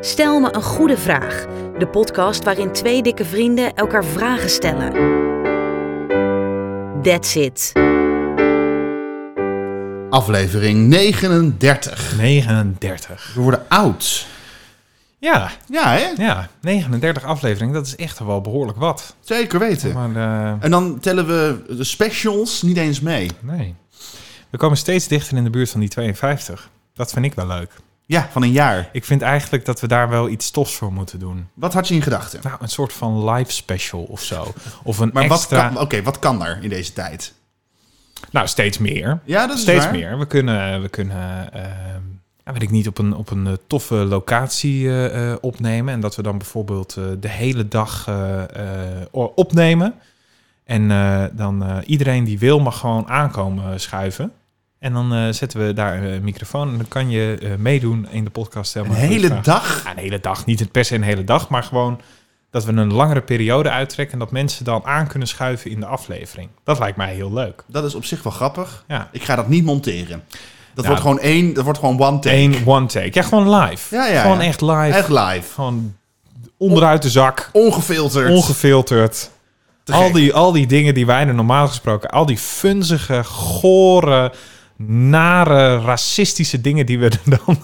Stel me een goede vraag. De podcast waarin twee dikke vrienden elkaar vragen stellen. That's it. Aflevering 39. 39. We worden oud. Ja, Ja, hè? ja, 39 afleveringen, dat is echt wel behoorlijk wat. Zeker weten. Maar eh, En dan tellen we de specials niet eens mee. nee, we komen steeds dichter in de buurt van die 52. Dat vind ik wel leuk. Ja, van een jaar. Ik vind eigenlijk dat we daar wel iets tofs voor moeten doen. Wat had je in gedachten? Nou, een soort van live special of zo. Of een Maar extra... wat, kan, oké, wat kan er in deze tijd? Nou, steeds meer. Ja, dat is Steeds waar. meer. We kunnen, we kunnen ehm, ja, weet ik niet, op een, op een eh, toffe locatie eh, eh, opnemen. En dat we dan bijvoorbeeld eh, de hele dag eh, eh, o- opnemen. En eh, dan eh, iedereen die wil mag gewoon aankomen eh, schuiven. En dan eh, zetten we daar een microfoon. En dan kan je eh, meedoen in de podcast. Stel Een maar een goede hele vraag. dag? Ja, een hele dag. Niet per se een hele dag, maar gewoon dat we een langere periode uittrekken. En dat mensen dan aan kunnen schuiven in de aflevering. Dat lijkt mij heel leuk. Dat is op zich wel grappig. Ja. Ik ga dat niet monteren. Dat Nou. wordt gewoon één, dat wordt gewoon one take. Eén one take. Ja, gewoon live. Ja, ja, gewoon ja. echt live. Echt live. Gewoon onderuit de zak. Ongefilterd. Ongefilterd. Te Al gek. die, al die dingen die wij er normaal gesproken... Al die funzige, gore, nare, racistische dingen die we er dan...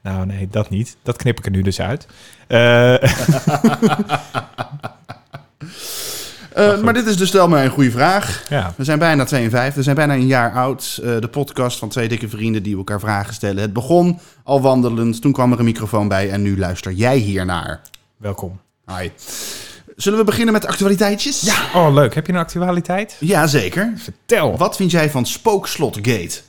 Nou nee, dat niet. Dat knip ik er nu dus uit. Eh, Eh, maar dit is dus stel maar een goede vraag. ja. We zijn bijna 52, we zijn bijna een jaar oud. Eh, de podcast van twee dikke vrienden die elkaar vragen stellen. Het begon al wandelend, toen kwam er een microfoon bij en nu luister jij hiernaar. Welkom. Hi. Zullen we beginnen met actualiteitjes? Ja. Oh, leuk. Heb je een actualiteit? Jazeker. Vertel. Wat vind jij van Spookslotgate?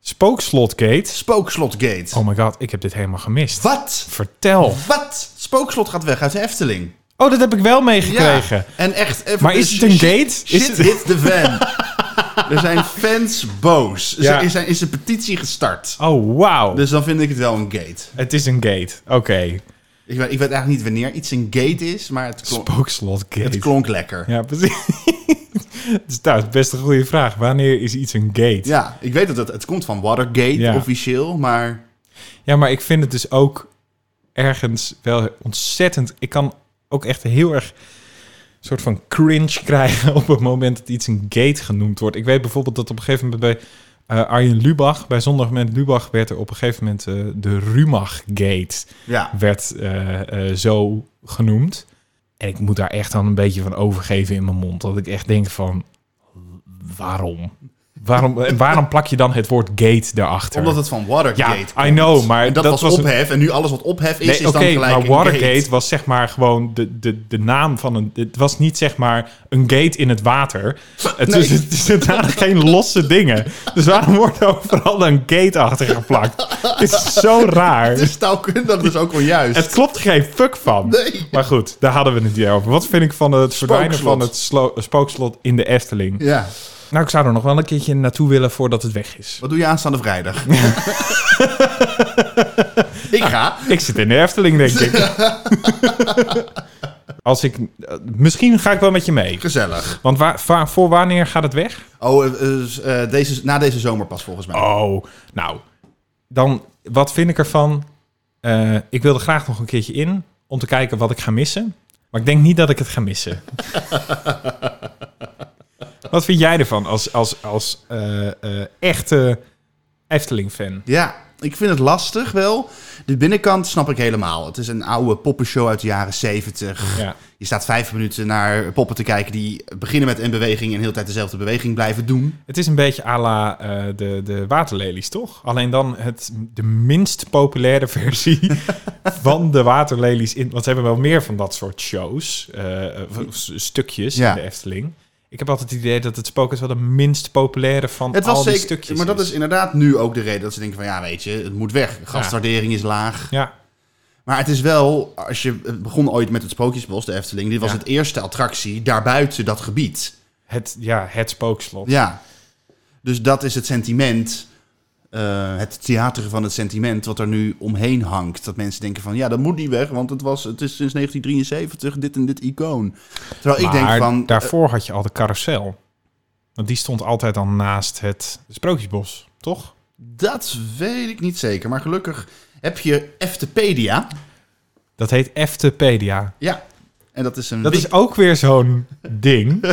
Spookslotgate. Spookslotgate. Oh my god, ik heb dit helemaal gemist. Wat? Vertel. Wat? Spookslot gaat weg uit de Efteling. Oh, dat heb ik wel meegekregen. En echt even... dus Maar is het een shit- gate? Shit Is het- hit the fan. er zijn fans boos. Ja. Er is- is een petitie gestart. Oh, wauw. Dus dan vind ik het wel een gate. Het is een gate. Oké. Ik weet, ik weet eigenlijk niet wanneer iets een gate is, maar het, klonk- Spookslot het gate. klonk lekker. Ja. Ja, precies. dus dat is best een goede vraag. Wanneer is iets een gate? Ja. ik weet dat het, het komt van Watergate Ja. officieel, maar maar ik vind het dus ook ergens wel ontzettend... Ik kan ook echt heel erg een soort van cringe krijgen op het moment dat iets een gate genoemd wordt. Ik weet bijvoorbeeld dat op een gegeven moment bij eh, Arjen Lubach, bij Zondag met Lubach, werd er op een gegeven moment eh, de Rumach Gate. ja. werd eh, eh, zo genoemd. En ik moet daar echt dan een beetje van overgeven in mijn mond. Dat ik echt denk van, waarom? Waarom, en waarom plak je dan het woord gate daarachter? Omdat het van Watergate ja, komt. I know, maar En dat, was, een- ophef en nu alles wat ophef is, Nee, is oké, dan gelijk maar een Watergate gate. was zeg maar gewoon de, de, de naam van een... Het was niet zeg maar een gate in het water. Het, Nee. is, het, is- het waren geen losse dingen. Dus waarom wordt er overal een gate achter geplakt? Het is zo raar. Het is taalkundig dus ook wel juist. Het klopt er geen fuck van. Nee. Maar goed, daar hadden we het niet over. Wat vind ik van het verdwijnen Spookslot. van het slo- spookslot in de Efteling? Ja, Nou, ik zou er nog wel een keertje naartoe willen voordat het weg is. wat doe je aanstaande vrijdag? ik ga. Ik zit in de Efteling, denk ik. Als ik, eh, misschien ga ik wel met je mee. Gezellig. Want wa- va- voor wanneer gaat het weg? Oh, eh, eh, eh, deze, na deze zomer pas volgens mij. Oh, nou. Dan, wat vind ik ervan? Eh, ik wil er graag nog een keertje in om te kijken wat ik ga missen. Maar ik denk niet dat ik het ga missen. wat vind jij ervan als, als, als eh, eh, echte Efteling-fan? Ja, ik vind het lastig wel. De binnenkant snap ik helemaal. Het is een oude poppenshow uit de jaren 70. Ja. Je staat vijf minuten naar poppen te kijken die beginnen met een beweging en heel de tijd dezelfde beweging blijven doen. Het is een beetje à la eh, de, de waterlelies, toch? Alleen dan het, de minst populaire versie van de waterlelies. In, want ze hebben wel meer van dat soort shows, eh, eh, s- stukjes Ja. in de Efteling. Ik heb altijd het idee dat het spook is wel de minst populaire van Het al was die zeker, stukjes. maar dat is inderdaad nu ook de reden dat ze denken van ja, weet je, het moet weg. Gastwaardering is laag. Ja, Maar het is wel, als je het begon ooit met het Sprookjesbos, de Efteling, dit was Ja. het eerste attractie daarbuiten dat gebied. het, ja, het spookslot. Ja. Dus dat is het sentiment, eh, het theater van het sentiment wat er nu omheen hangt. Dat mensen denken van, ja, dat moet niet weg, want het, was, het is sinds 1973 dit en dit icoon. Terwijl ik denk Maar van, eh, daarvoor had je al de carousel. Want die stond altijd dan naast het Sprookjesbos, toch? dat weet ik niet zeker. Maar gelukkig heb je Eftepedia. Dat heet Eftepedia. Ja, en dat is een... Dat wik- is ook weer zo'n ding.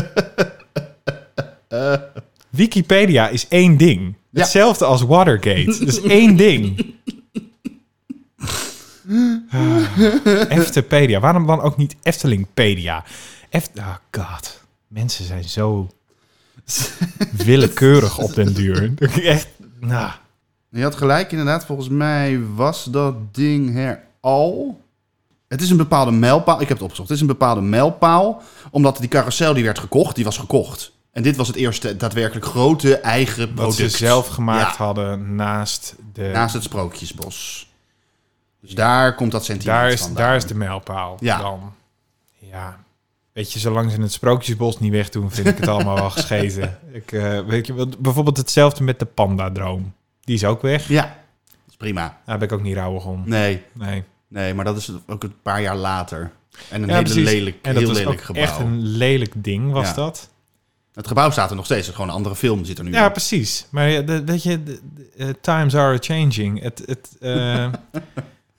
Wikipedia is één ding. Ja. Hetzelfde als Watergate. Dat is één ding. Ah, Eftepedia. Waarom dan ook niet Eftelingpedia? Eft oh god. Mensen zijn zo willekeurig op den duur. Echt, nou. Je had gelijk, inderdaad. Volgens mij was dat ding her al. Het is een bepaalde mijlpaal. Ik heb het opgezocht. Het is een bepaalde mijlpaal. Omdat die carousel die werd gekocht, die was gekocht. En dit was het eerste daadwerkelijk grote eigen Wat product. ze zelf gemaakt Ja, hadden naast de... Naast het Sprookjesbos. Dus daar komt dat sentiment daar, is, vandaan. daar is de mijlpaal Ja. dan. Ja. Weet je, zolang ze het sprookjesbos niet wegdoen, vind ik het allemaal wel gescheten. Ik, eh, weet je, want bijvoorbeeld hetzelfde met de pandadroom. Die is ook weg. Ja, dat is prima. Daar ben ik ook niet rouwig om. Nee, Nee. nee, maar dat is ook een paar jaar later. En een Ja, hele precies. lelijk, en dat heel was lelijk ook gebouw. echt een lelijk ding, was Ja. dat. Het gebouw staat er nog steeds. Het is gewoon een andere film zit er nu Ja, in. precies. Maar ja, de- weet je, de- de- eh, times are changing. Het, het, eh,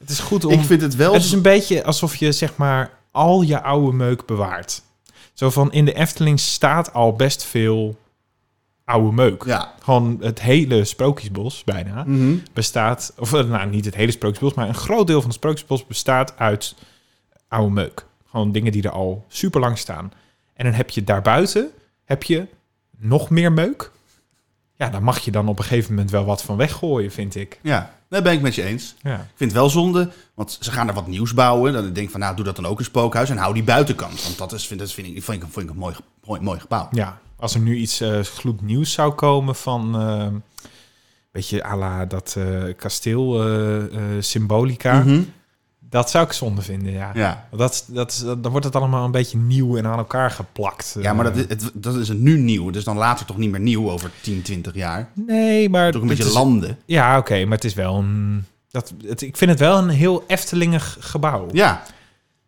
het is goed om... Ik vind het wel... Het is een beetje alsof je zeg maar al je oude meuk bewaart. Zo van in de Efteling staat al best veel oude meuk. Ja. Gewoon het hele Sprookjesbos bijna Mhm. bestaat... Of eh, nou, niet het hele Sprookjesbos, maar een groot deel van het Sprookjesbos bestaat uit oude meuk. Gewoon dingen die er al super lang staan. En dan heb je daarbuiten heb je nog meer meuk. Ja, daar mag je dan op een gegeven moment wel wat van weggooien, vind ik. Ja, daar ben ik met je eens. Ja. Ik vind het wel zonde, want ze gaan er wat nieuws bouwen. Dan denk ik van, nou, doe dat dan ook een spookhuis en hou die buitenkant. Want dat is, vind, dat vind, ik, vind, ik, vind ik een mooi, mooi, mooi gebouw. Ja, als er nu iets eh gloednieuws zou komen van... eh, weet je, à la dat eh, kasteel eh, eh, Symbolica. Mhm. Dat zou ik zonde vinden, ja. ja. Want Dat, is- dat, is- dan wordt het allemaal een beetje nieuw en aan elkaar geplakt. ja, maar dat Eh, is, het, dat is het nu nieuw. Dus dan later toch niet meer nieuw over 10, 20 jaar. Nee, maar... Toch een beetje het is- landen. Ja, oké, maar het is wel een... Dat, het, ik vind het wel een heel Eftelingig gebouw. Ja,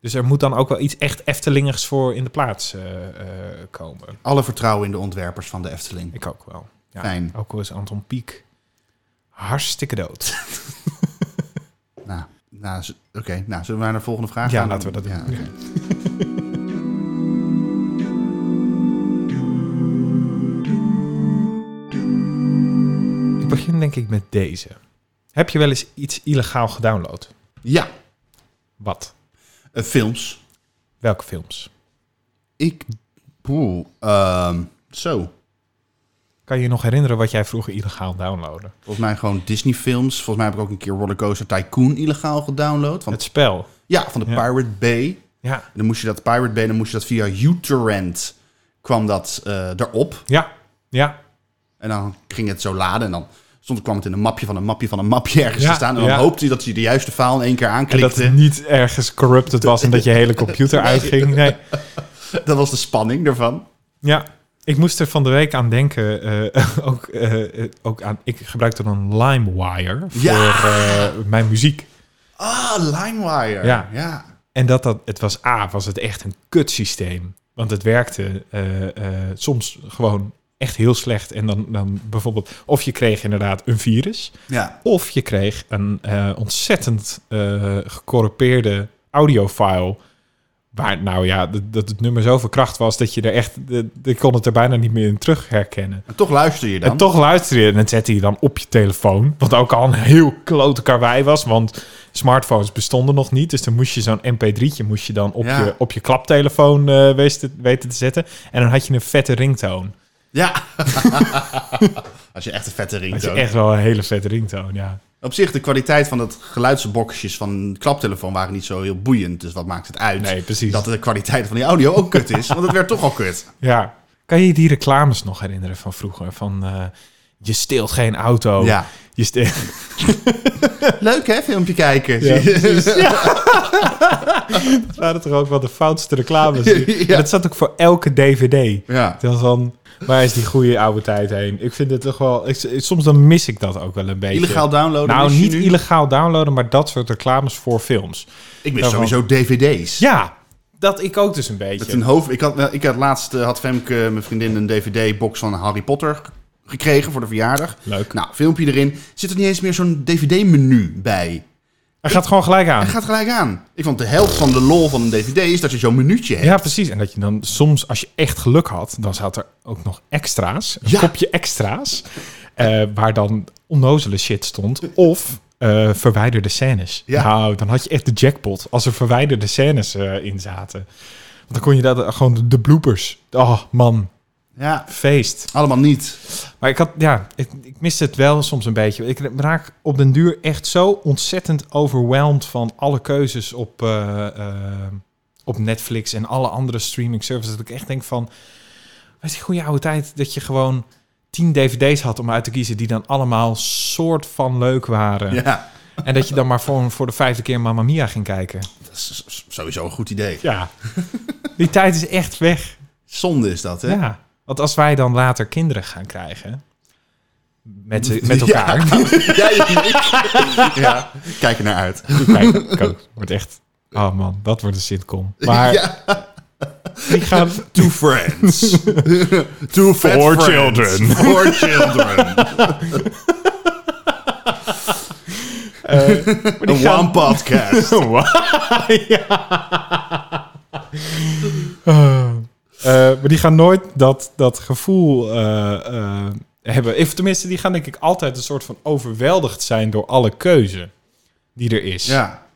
Dus er moet dan ook wel iets echt Eftelingigs voor in de plaats eh, eh, komen. alle vertrouwen in de ontwerpers van de Efteling. Ik ook wel. Ja, Fijn. Ook al is Anton Pieck hartstikke dood. Nou, nou, z- Oké, nou, zullen we naar de volgende vraag Ja, gaan? laten we dat doen. Ja, oké. Ik begin denk ik met deze. Heb je wel eens iets illegaal gedownload? ja Wat? eh, films. Welke films? Ik, poeh, ehm, zo. Kan je je nog herinneren wat jij vroeger illegaal downloadde? Volgens mij gewoon Disney films. Volgens mij heb ik ook een keer Rollercoaster Tycoon illegaal gedownload. Van, Het spel. ja, van de Ja. Pirate Bay. Ja. En dan moest je dat Pirate Bay, dan moest je dat via uTorrent kwam dat eh erop. Ja. Ja. En dan ging het zo laden en dan stond, kwam het in een mapje van een mapje van een mapje ergens Ja, te staan. En dan ja. hoopte hij dat hij de juiste faal in één keer En dat aanklikte. het niet ergens corrupted was en dat je hele computer uitging. Nee. Dat... was de spanning ervan. Ja. Ik moest er van de week aan denken. eh, ook, eh, eh, ook aan, ik gebruikte dan LimeWire voor Ja. eh, mijn muziek. Ah, LimeWire. Ja. ja. En dat dat, het was A, was het echt een kutsysteem. Want het werkte eh, eh, soms gewoon echt heel slecht. En dan, dan bijvoorbeeld, of je kreeg inderdaad een virus. Ja. Of je kreeg een eh, ontzettend eh, gecorrupeerde audiofile. Waar nou ja, dat, dat het nummer zoveel kracht was dat je er echt, de- de- ik kon het er bijna niet meer in terug herkennen. En toch luister je dan. En toch luister je en het zette je dan op je telefoon. Wat ook al een heel klote karwei was, want smartphones bestonden nog niet. Dus dan moest je zo'n mp3'tje moest je dan op, Ja. je, op je klaptelefoon eh, weten, weten te zetten. En dan had je een vette ringtoon. Ja. Als je echt een vette Dat is ringtoon. echt wel een hele vette ringtoon, ja. Op zich, de kwaliteit van het geluidsboxjes van klaptelefoon waren niet zo heel boeiend. Dus wat maakt het uit? Nee, precies. Dat de kwaliteit van die audio ook kut is. Want het werd toch al kut. Ja. Kan je je die reclames nog herinneren van vroeger? Van eh, je steelt geen auto. Ja. Je steelt... Leuk hè, filmpje kijken. Ja, precies. Dat waren toch ook wel de foutste reclames. Ja. En dat zat ook voor elke DVD. Ja. Dan van, waar is die goede oude tijd heen? Ik vind het toch wel... Ik, soms dan mis ik dat ook wel een beetje. Illegaal downloaden. Nou, mis je niet nu? illegaal downloaden, maar dat soort reclames voor films. Ik mis daarvan. sowieso DVD's. Ja, dat ik ook dus een Met beetje. een hoofd. Ik had, ik had laatst eh, had Femke, mijn vriendin, een DVD-box van Harry Potter g- gekregen voor de verjaardag. Leuk. Nou, filmpje erin. Zit er niet eens meer zo'n DVD-menu bij? Hij gaat gewoon gelijk aan. Hij gaat gelijk aan. Ik vond de helft van de lol van een dvd is dat je zo'n minuutje hebt. Ja, precies. En dat je dan soms, als je echt geluk had, dan zat er ook nog extra's. Een Ja. kopje extra's. eh, waar dan onnozele shit stond. Of eh, verwijderde scènes. Ja. Nou, dan had je echt de jackpot. Als er verwijderde scènes eh, in zaten. Want dan kon je daar gewoon de, de bloopers. Oh man, Ja, feest. allemaal niet. Maar ik had, ja, ik, ik miste het wel soms een beetje. Ik raak op den duur echt zo ontzettend overwhelmed van alle keuzes op, eh, eh, op Netflix en alle andere streaming services. Dat ik echt denk van, weet je, goede oude tijd dat je gewoon tien dvd's had om uit te kiezen die dan allemaal soort van leuk waren. Ja, En dat je dan maar voor, voor de vijfde keer Mamma Mia ging kijken. dat is s- sowieso een goed idee. Ja. Die tijd is echt weg. Zonde is dat, hè? Ja, want als wij dan later kinderen gaan krijgen met, met elkaar, Jij en ik. ja, kijk er naar uit. Kijk, kook. Wordt echt... Oh man, dat wordt een sitcom. Maar Ja. die gaan... Two friends. Two fat Four friends. children. Four children. eh, maar die Een one podcast. Eh, maar die gaan nooit dat, dat gevoel eh, eh, hebben. Of tenminste, die gaan denk ik altijd een soort van overweldigd zijn door alle keuze die er is. Ja.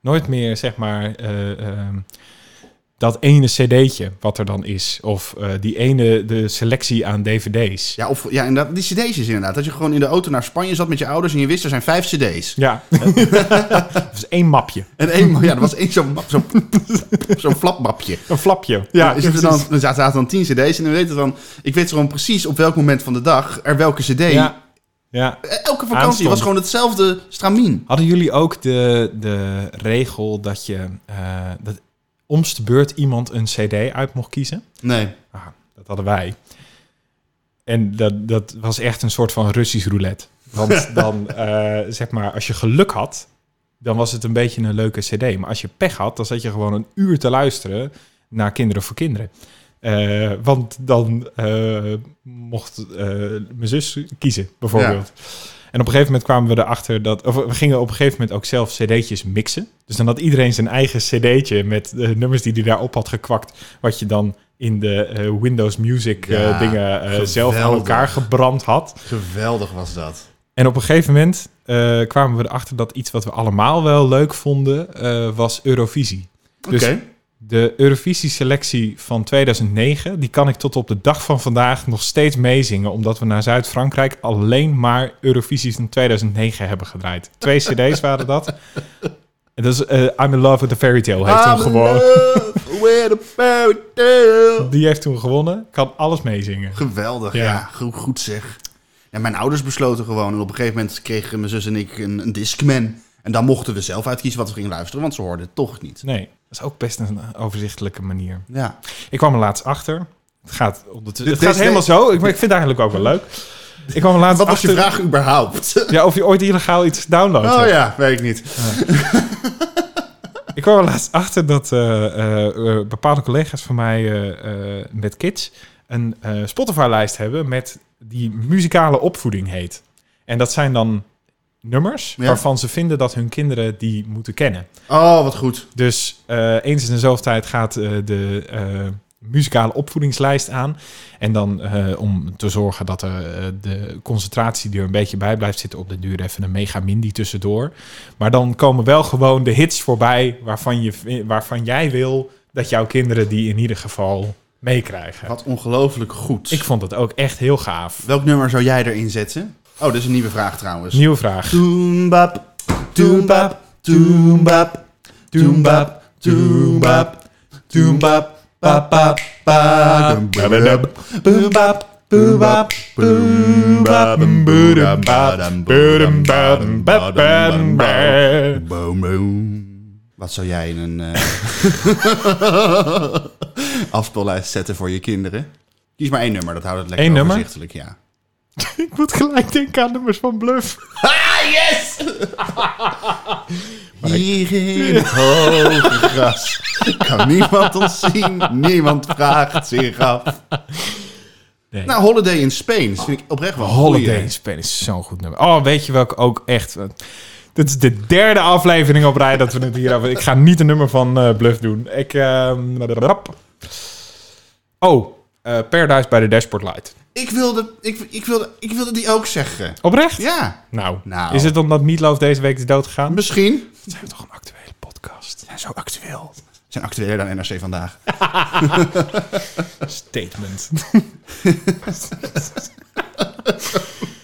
Nooit meer, zeg maar, eh, ehm, dat ene cd'tje wat er dan is. Of eh, die ene, de selectie aan dvd's. Ja, of, ja, inderdaad, die cd's is inderdaad. Dat je gewoon in de auto naar Spanje zat met je ouders en je wist, er zijn vijf cd's. Ja. dat is één mapje. En één, ja, er was één zo'n map- zo'n zo'n flapmapje. Een flapje. Ja, is er, dan, er zaten dan tien cd's en we weten dan... Ik weet gewoon precies op welk moment van de dag er welke cd... Ja. ja. Elke vakantie Aanstond. was gewoon hetzelfde stramien. Hadden jullie ook de, de regel dat je eh dat omst de beurt iemand een CD uit mocht kiezen? Nee. Ah, dat hadden wij. En dat, dat was echt een soort van Russisch roulette. Want dan, eh, zeg maar, als je geluk had, dan was het een beetje een leuke CD. Maar als je pech had, dan zat je gewoon een uur te luisteren naar Kinderen voor Kinderen. Eh, want dan eh, mocht eh, mijn zus kiezen, bijvoorbeeld. En op een gegeven moment kwamen we erachter dat. Of we gingen op een gegeven moment ook zelf CD'tjes mixen. Dus dan had iedereen zijn eigen CD'tje met de nummers die hij daarop had gekwakt. Wat je dan in de eh, Windows Music eh, Ja, dingen eh, zelf aan geweldig. elkaar gebrand had. Geweldig was dat. En op een gegeven moment eh, kwamen we erachter dat iets wat we allemaal wel leuk vonden, eh, was Eurovisie. Oké. Dus de Eurovisie-selectie van 2009, die kan ik tot op de dag van vandaag nog steeds meezingen, omdat we naar Zuid-Frankrijk alleen maar Eurovisies in 2009 hebben gedraaid. Twee CD's waren dat. En dat is eh, I'm in Love with a Fairy Tale heeft I'm hem gewonnen. in love with a fairy tale. Die heeft toen gewonnen, kan alles meezingen. Geweldig, ja. Ja. Goed, goed zeg. Ja, mijn ouders besloten gewoon. En op een gegeven moment kregen mijn zus en ik een, een Discman. En dan mochten we zelf uitkiezen wat we gingen luisteren, want ze hoorden het toch niet. Nee, dat is ook best een overzichtelijke manier. Ja. Ik kwam er laatst achter. Het gaat, ondertussen, het Deze- gaat helemaal zo. Ik, maar ik vind het eigenlijk ook wel leuk. Ik kwam er laatst Wat was achter. je vraag überhaupt? Ja, of je ooit illegaal iets downloadt. Oh hebt. ja, weet ik niet. Ik kwam er laatst achter dat eh, eh, eh, bepaalde collega's van mij eh, eh, met kids een eh, Spotify-lijst hebben met die muzikale opvoeding heet. En dat zijn dan nummers Ja. waarvan ze vinden dat hun kinderen die moeten kennen. Oh, wat goed. Dus eh, eens in de zoveel tijd gaat eh, de eh, muzikale opvoedingslijst aan. En dan eh, om te zorgen dat er, eh, de concentratie er een beetje bij blijft zitten. Op de duur even een mega mindy tussendoor. Maar dan komen wel gewoon de hits voorbij waarvan, je, vi- waarvan jij wil dat jouw kinderen die in ieder geval meekrijgen. Wat ongelooflijk goed. Ik vond dat ook echt heel gaaf. Welk nummer zou jij erin zetten? Oh, dat is een nieuwe vraag trouwens. Nieuwe vraag. Toembap, toembap, toembap, toembap, toembap, toembap, papa, pa, doembap, boembap, boembap, boembap, boembap, boembap, boem, boem. Wat zou jij in een eh, afspeellijst zetten voor je kinderen? Kies maar één nummer, dat houdt het lekker Eén nummer? overzichtelijk. Ja. Ik moet gelijk denken aan nummers van Bluff. Hier in het hoge gras kan niemand ons zien, niemand vraagt zich af. Nee. Nou, Holiday in Spain dat vind ik oprecht wel een Holiday goeie. in Spain is zo'n goed nummer. Oh, weet je welke ook echt... eh, Dit is de derde aflevering op rij dat we het hier over... Ik ga niet een nummer van eh, Bluff doen. Ik... eh, rap. oh, eh, Paradise bij de Dashboard Light. Ik wilde, ik, ik, wilde, ik wilde die ook zeggen. Oprecht? Ja, Nou, Nou. is het omdat Meatloaf deze week is doodgegaan? misschien. Het zijn toch een actuele podcast. Zijn zo actueel. Zijn actueler dan NRC vandaag. Statement.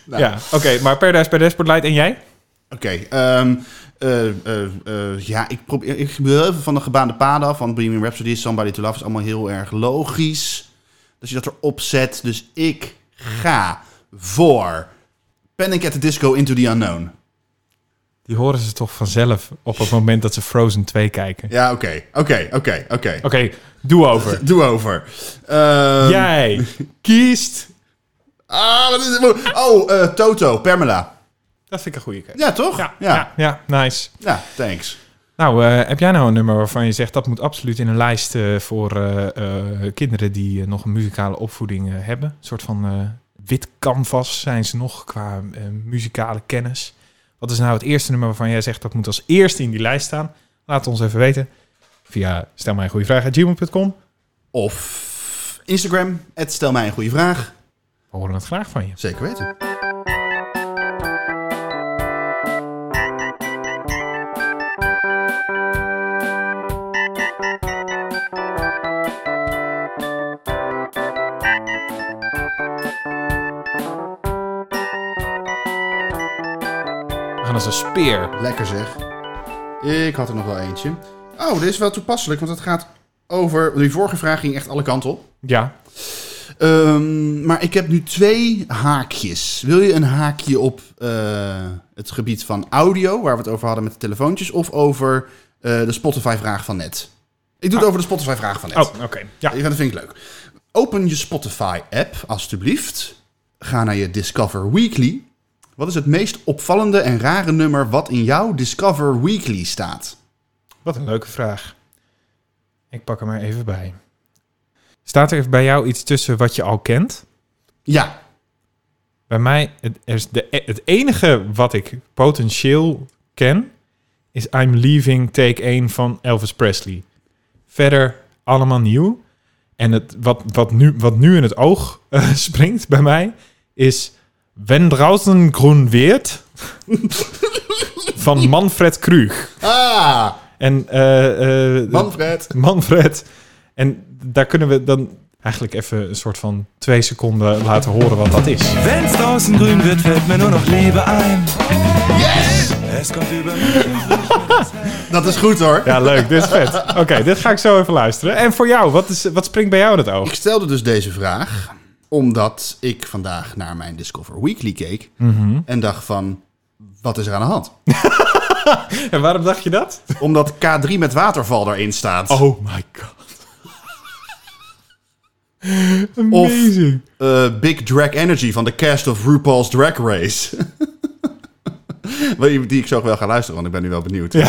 Ja, oké. maar Paradise bij Dashboard Light en jij? Oké, ehm, eh, eh, eh, ja, ik probeer ik wil even van de gebaande paden af, want Bohemian Rhapsody, Somebody to Love is allemaal heel erg logisch. Dat je dat erop zet, dus ik ga voor Panic at the Disco Into the Unknown. Die horen ze toch vanzelf op het moment dat ze Frozen 2 kijken. Ja, oké, oké, oké, oké. Oké, doe over. Doe over. Ehm, jij kiest... Ah, wat is het? Oh, eh, Toto, Pamela. Dat vind ik een goede keuze. Ja, toch? Ja, ja. ja. ja, nice. Ja, thanks. Nou, eh, heb jij nou een nummer waarvan je zegt dat moet absoluut in een lijst eh, voor eh, eh, kinderen die eh, nog een muzikale opvoeding eh, hebben? Een soort van eh, wit canvas zijn ze nog qua eh, muzikale kennis. Wat is nou het eerste nummer waarvan jij zegt dat moet als eerste in die lijst staan? Laat het ons even weten via stel mij een goede vraag Of Instagram, het stel mij een goede vraag. We horen het graag van je. Zeker weten. We gaan als een speer. Lekker zeg. Ik had er nog wel eentje. Oh, dit is wel toepasselijk, want het gaat over... Die vorige vraag ging echt alle kanten op. Ja, Ehm, maar ik heb nu twee haakjes. Wil je een haakje op eh, het gebied van audio, waar we het over hadden met de telefoontjes, of over eh, de Spotify-vraag van net? Ik doe het over de Spotify-vraag van net. oh, oké. Ja. Ja, dat vind ik leuk. Open je Spotify-app, alstublieft. Ga naar je Discover Weekly. Wat is het meest opvallende en rare nummer wat in jouw Discover Weekly staat? Wat een leuke vraag. Ik pak hem er even bij. Staat er bij jou iets tussen wat je al kent? Ja, Bij mij, het, er is de, het enige wat ik potentieel ken, is I'm Leaving Take 1 van Elvis Presley. Verder allemaal nieuw. En het, wat, wat, nu, wat nu in het oog eh, springt bij mij, is Wenn draußen groen weert van Manfred Krug. Ah, En eh, eh, Manfred. Manfred. En daar kunnen we dan eigenlijk even een soort van twee seconden laten horen wat dat is. Wenn's draußen grün wird, fällt mir nur noch Liebe ein. Yes! Es kommt über mich. Dat is goed hoor. Ja, leuk. Dit is vet. Oké, dit ga ik zo even luisteren. En voor jou, wat, is, wat springt bij jou in het oog? Ik stelde dus deze vraag omdat ik vandaag naar mijn Discover Weekly keek Mhm. en dacht van, wat is er aan de hand? En waarom dacht je dat? Omdat K3 met waterval daarin staat. Oh my god. Of- Amazing. Eh, Big Drag Energy van de cast of RuPaul's Drag Race. Wel, die- Die ik zo wel ga luisteren, want ik ben nu wel benieuwd.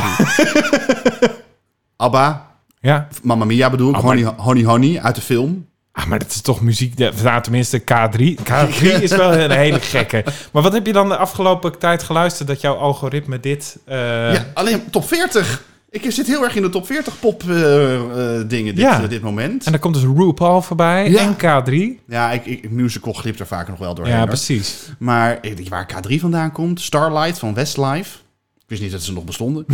Abba, Ja. Mamma Mia bedoel ik, Abba. honey, honey Honey uit de film. Ah, maar dat is toch muziek. de- Nou, tenminste, K3. K3 is wel een hele gekke. Maar wat heb je dan de afgelopen tijd geluisterd dat jouw algoritme dit. eh, Ja, alleen top 40. Ik zit heel erg in de top 40 pop eh, eh, dingen dit, Ja. eh, dit moment. En dan komt dus RuPaul voorbij Ja. en K3. Ja, ik, ik, musical glipt er vaak nog wel doorheen. Ja, hoor. precies. Maar ik weet waar K3 vandaan komt, Starlight van Westlife. Ik wist niet dat ze nog bestonden.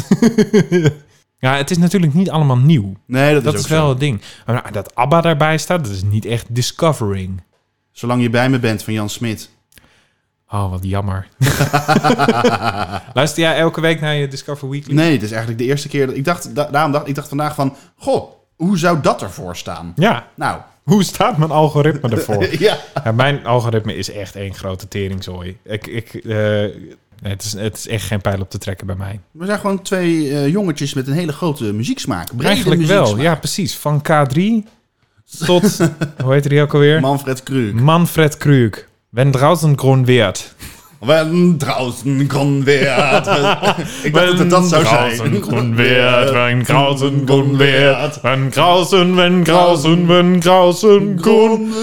Ja, het is natuurlijk niet allemaal nieuw. Nee, dat, Dat is, is ook wel zo. het ding. Maar nou, dat ABBA daarbij staat, dat is niet echt discovering. Zolang je bij me bent van Jan Smit. Oh, wat jammer. Luister jij elke week naar je Discover Weekly? Nee, dit is eigenlijk de eerste keer dat ik dacht. da- daarom dacht ik dacht vandaag van, goh, hoe zou dat ervoor staan? Ja. Nou, Hoe staat mijn algoritme ervoor? ja. ja, mijn algoritme is echt één grote teringzooi. Ik, ik, eh, nee, het, is, het is echt geen pijl op te trekken bij mij. We zijn gewoon twee eh, jongetjes met een hele grote muzieksmaak. Brede Eigenlijk muzieksmaak. wel, ja precies. Van K3 tot, hoe heet die ook alweer? Manfred Krug. Manfred Krug. Wenn draußen grün wird. Wenn draußen grün wird. ik dacht dat het dat zou zijn. grün wird, wenn draußen grün wird. Wenn draußen, wenn draußen, wenn draußen grün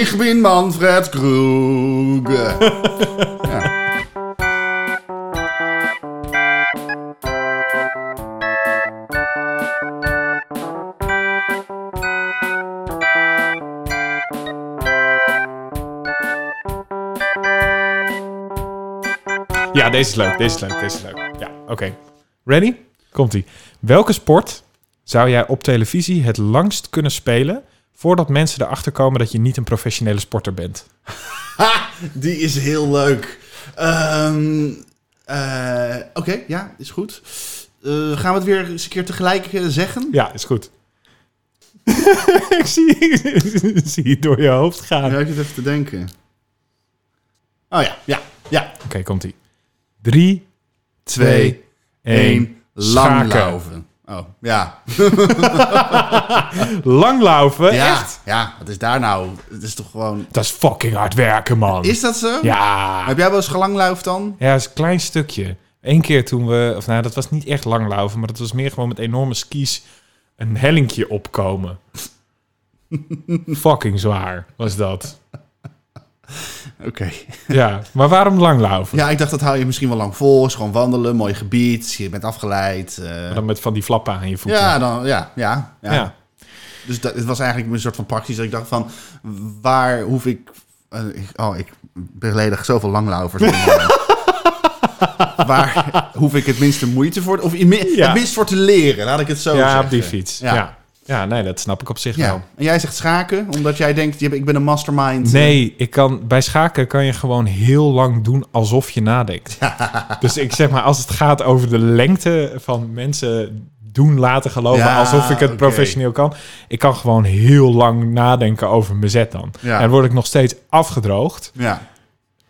Ik ben Manfred Krug. ja. ja, deze is leuk. Deze is leuk. Deze is leuk. Ja, oké. Ready? Komt-ie. Welke sport zou jij op televisie het langst kunnen spelen... voordat mensen erachter komen dat je niet een professionele sporter bent? Ha, die is heel leuk. Ehm, eh, Oké, ja, is goed. Eh, gaan we het weer eens een keer tegelijk eh, zeggen? Ja, is goed. ik, zie, ik zie het door je hoofd gaan. Ja, ik zit even te denken. Oh ja, ja, ja. Oké, komt-ie. Drie, Twee, één, Schaken. langlaufen. Oh, ja. Langlaufen? ja. Echt? Ja, wat is daar nou? Het is toch gewoon... Dat is fucking hard werken, man. Is dat zo? Ja. Heb jij wel eens gelanglaufd dan? Ja, dat is een klein stukje. Eén keer toen we, of nou, dat was niet echt langlaufen, maar dat was meer gewoon met enorme skis een hellinkje opkomen. Fucking zwaar was dat. Oké. Ja, maar waarom langlaufen? Ja, ik dacht dat hou je misschien wel lang vol. Is gewoon wandelen, mooi gebied. Je bent afgeleid. eh. Dan met van die flappen aan je voeten. ja, dan, ja, ja, ja. ja. Dus dat, het was eigenlijk een soort van praktisch. Dat ik dacht van, waar hoef ik... eh, ik- oh, ik beledig zoveel langlaufers. waar hoef ik het minste moeite voor... Of in mi- Ja. het minst voor te leren, laat ik het zo Ja, zeggen. op die fiets. Ja. Ja. Ja. nee, dat snap ik op zich wel. Ja. En jij zegt schaken, omdat jij denkt, je- ik ben een mastermind. Nee, ik kan, bij schaken kan je gewoon heel lang doen alsof je nadenkt. Dus ik zeg maar, als het gaat over de lengte van mensen doen laten geloven Ja, alsof ik het oké. professioneel kan. Ik kan gewoon heel lang nadenken over mijn zet dan. Ja. En dan word ik nog steeds afgedroogd. Ja.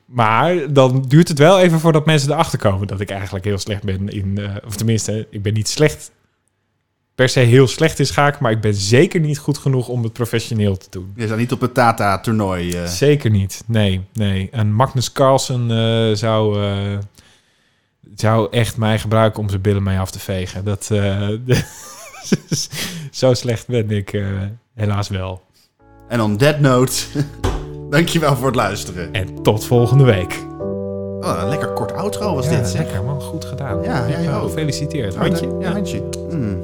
Maar dan duurt het wel even voordat mensen erachter komen dat ik eigenlijk heel slecht ben in... eh, of tenminste, ik ben niet slecht. Per se heel slecht in schaken, maar ik ben zeker niet goed genoeg om het professioneel te doen. Je zou niet op het Tata-toernooi... eh, Zeker niet. Nee, nee. En Magnus Carlsen eh, zou, eh, zou echt mij gebruiken om zijn billen mee af te vegen. Dat, eh, zo slecht ben ik eh, helaas wel. En on that note, dankjewel voor het luisteren. En tot volgende week. Oh, een lekker kort outro was Ja, dit, zeg. Lekker man, goed gedaan. Ja, jij Zo, ook. Gefeliciteerd. Handje. Ja, handje. Mm.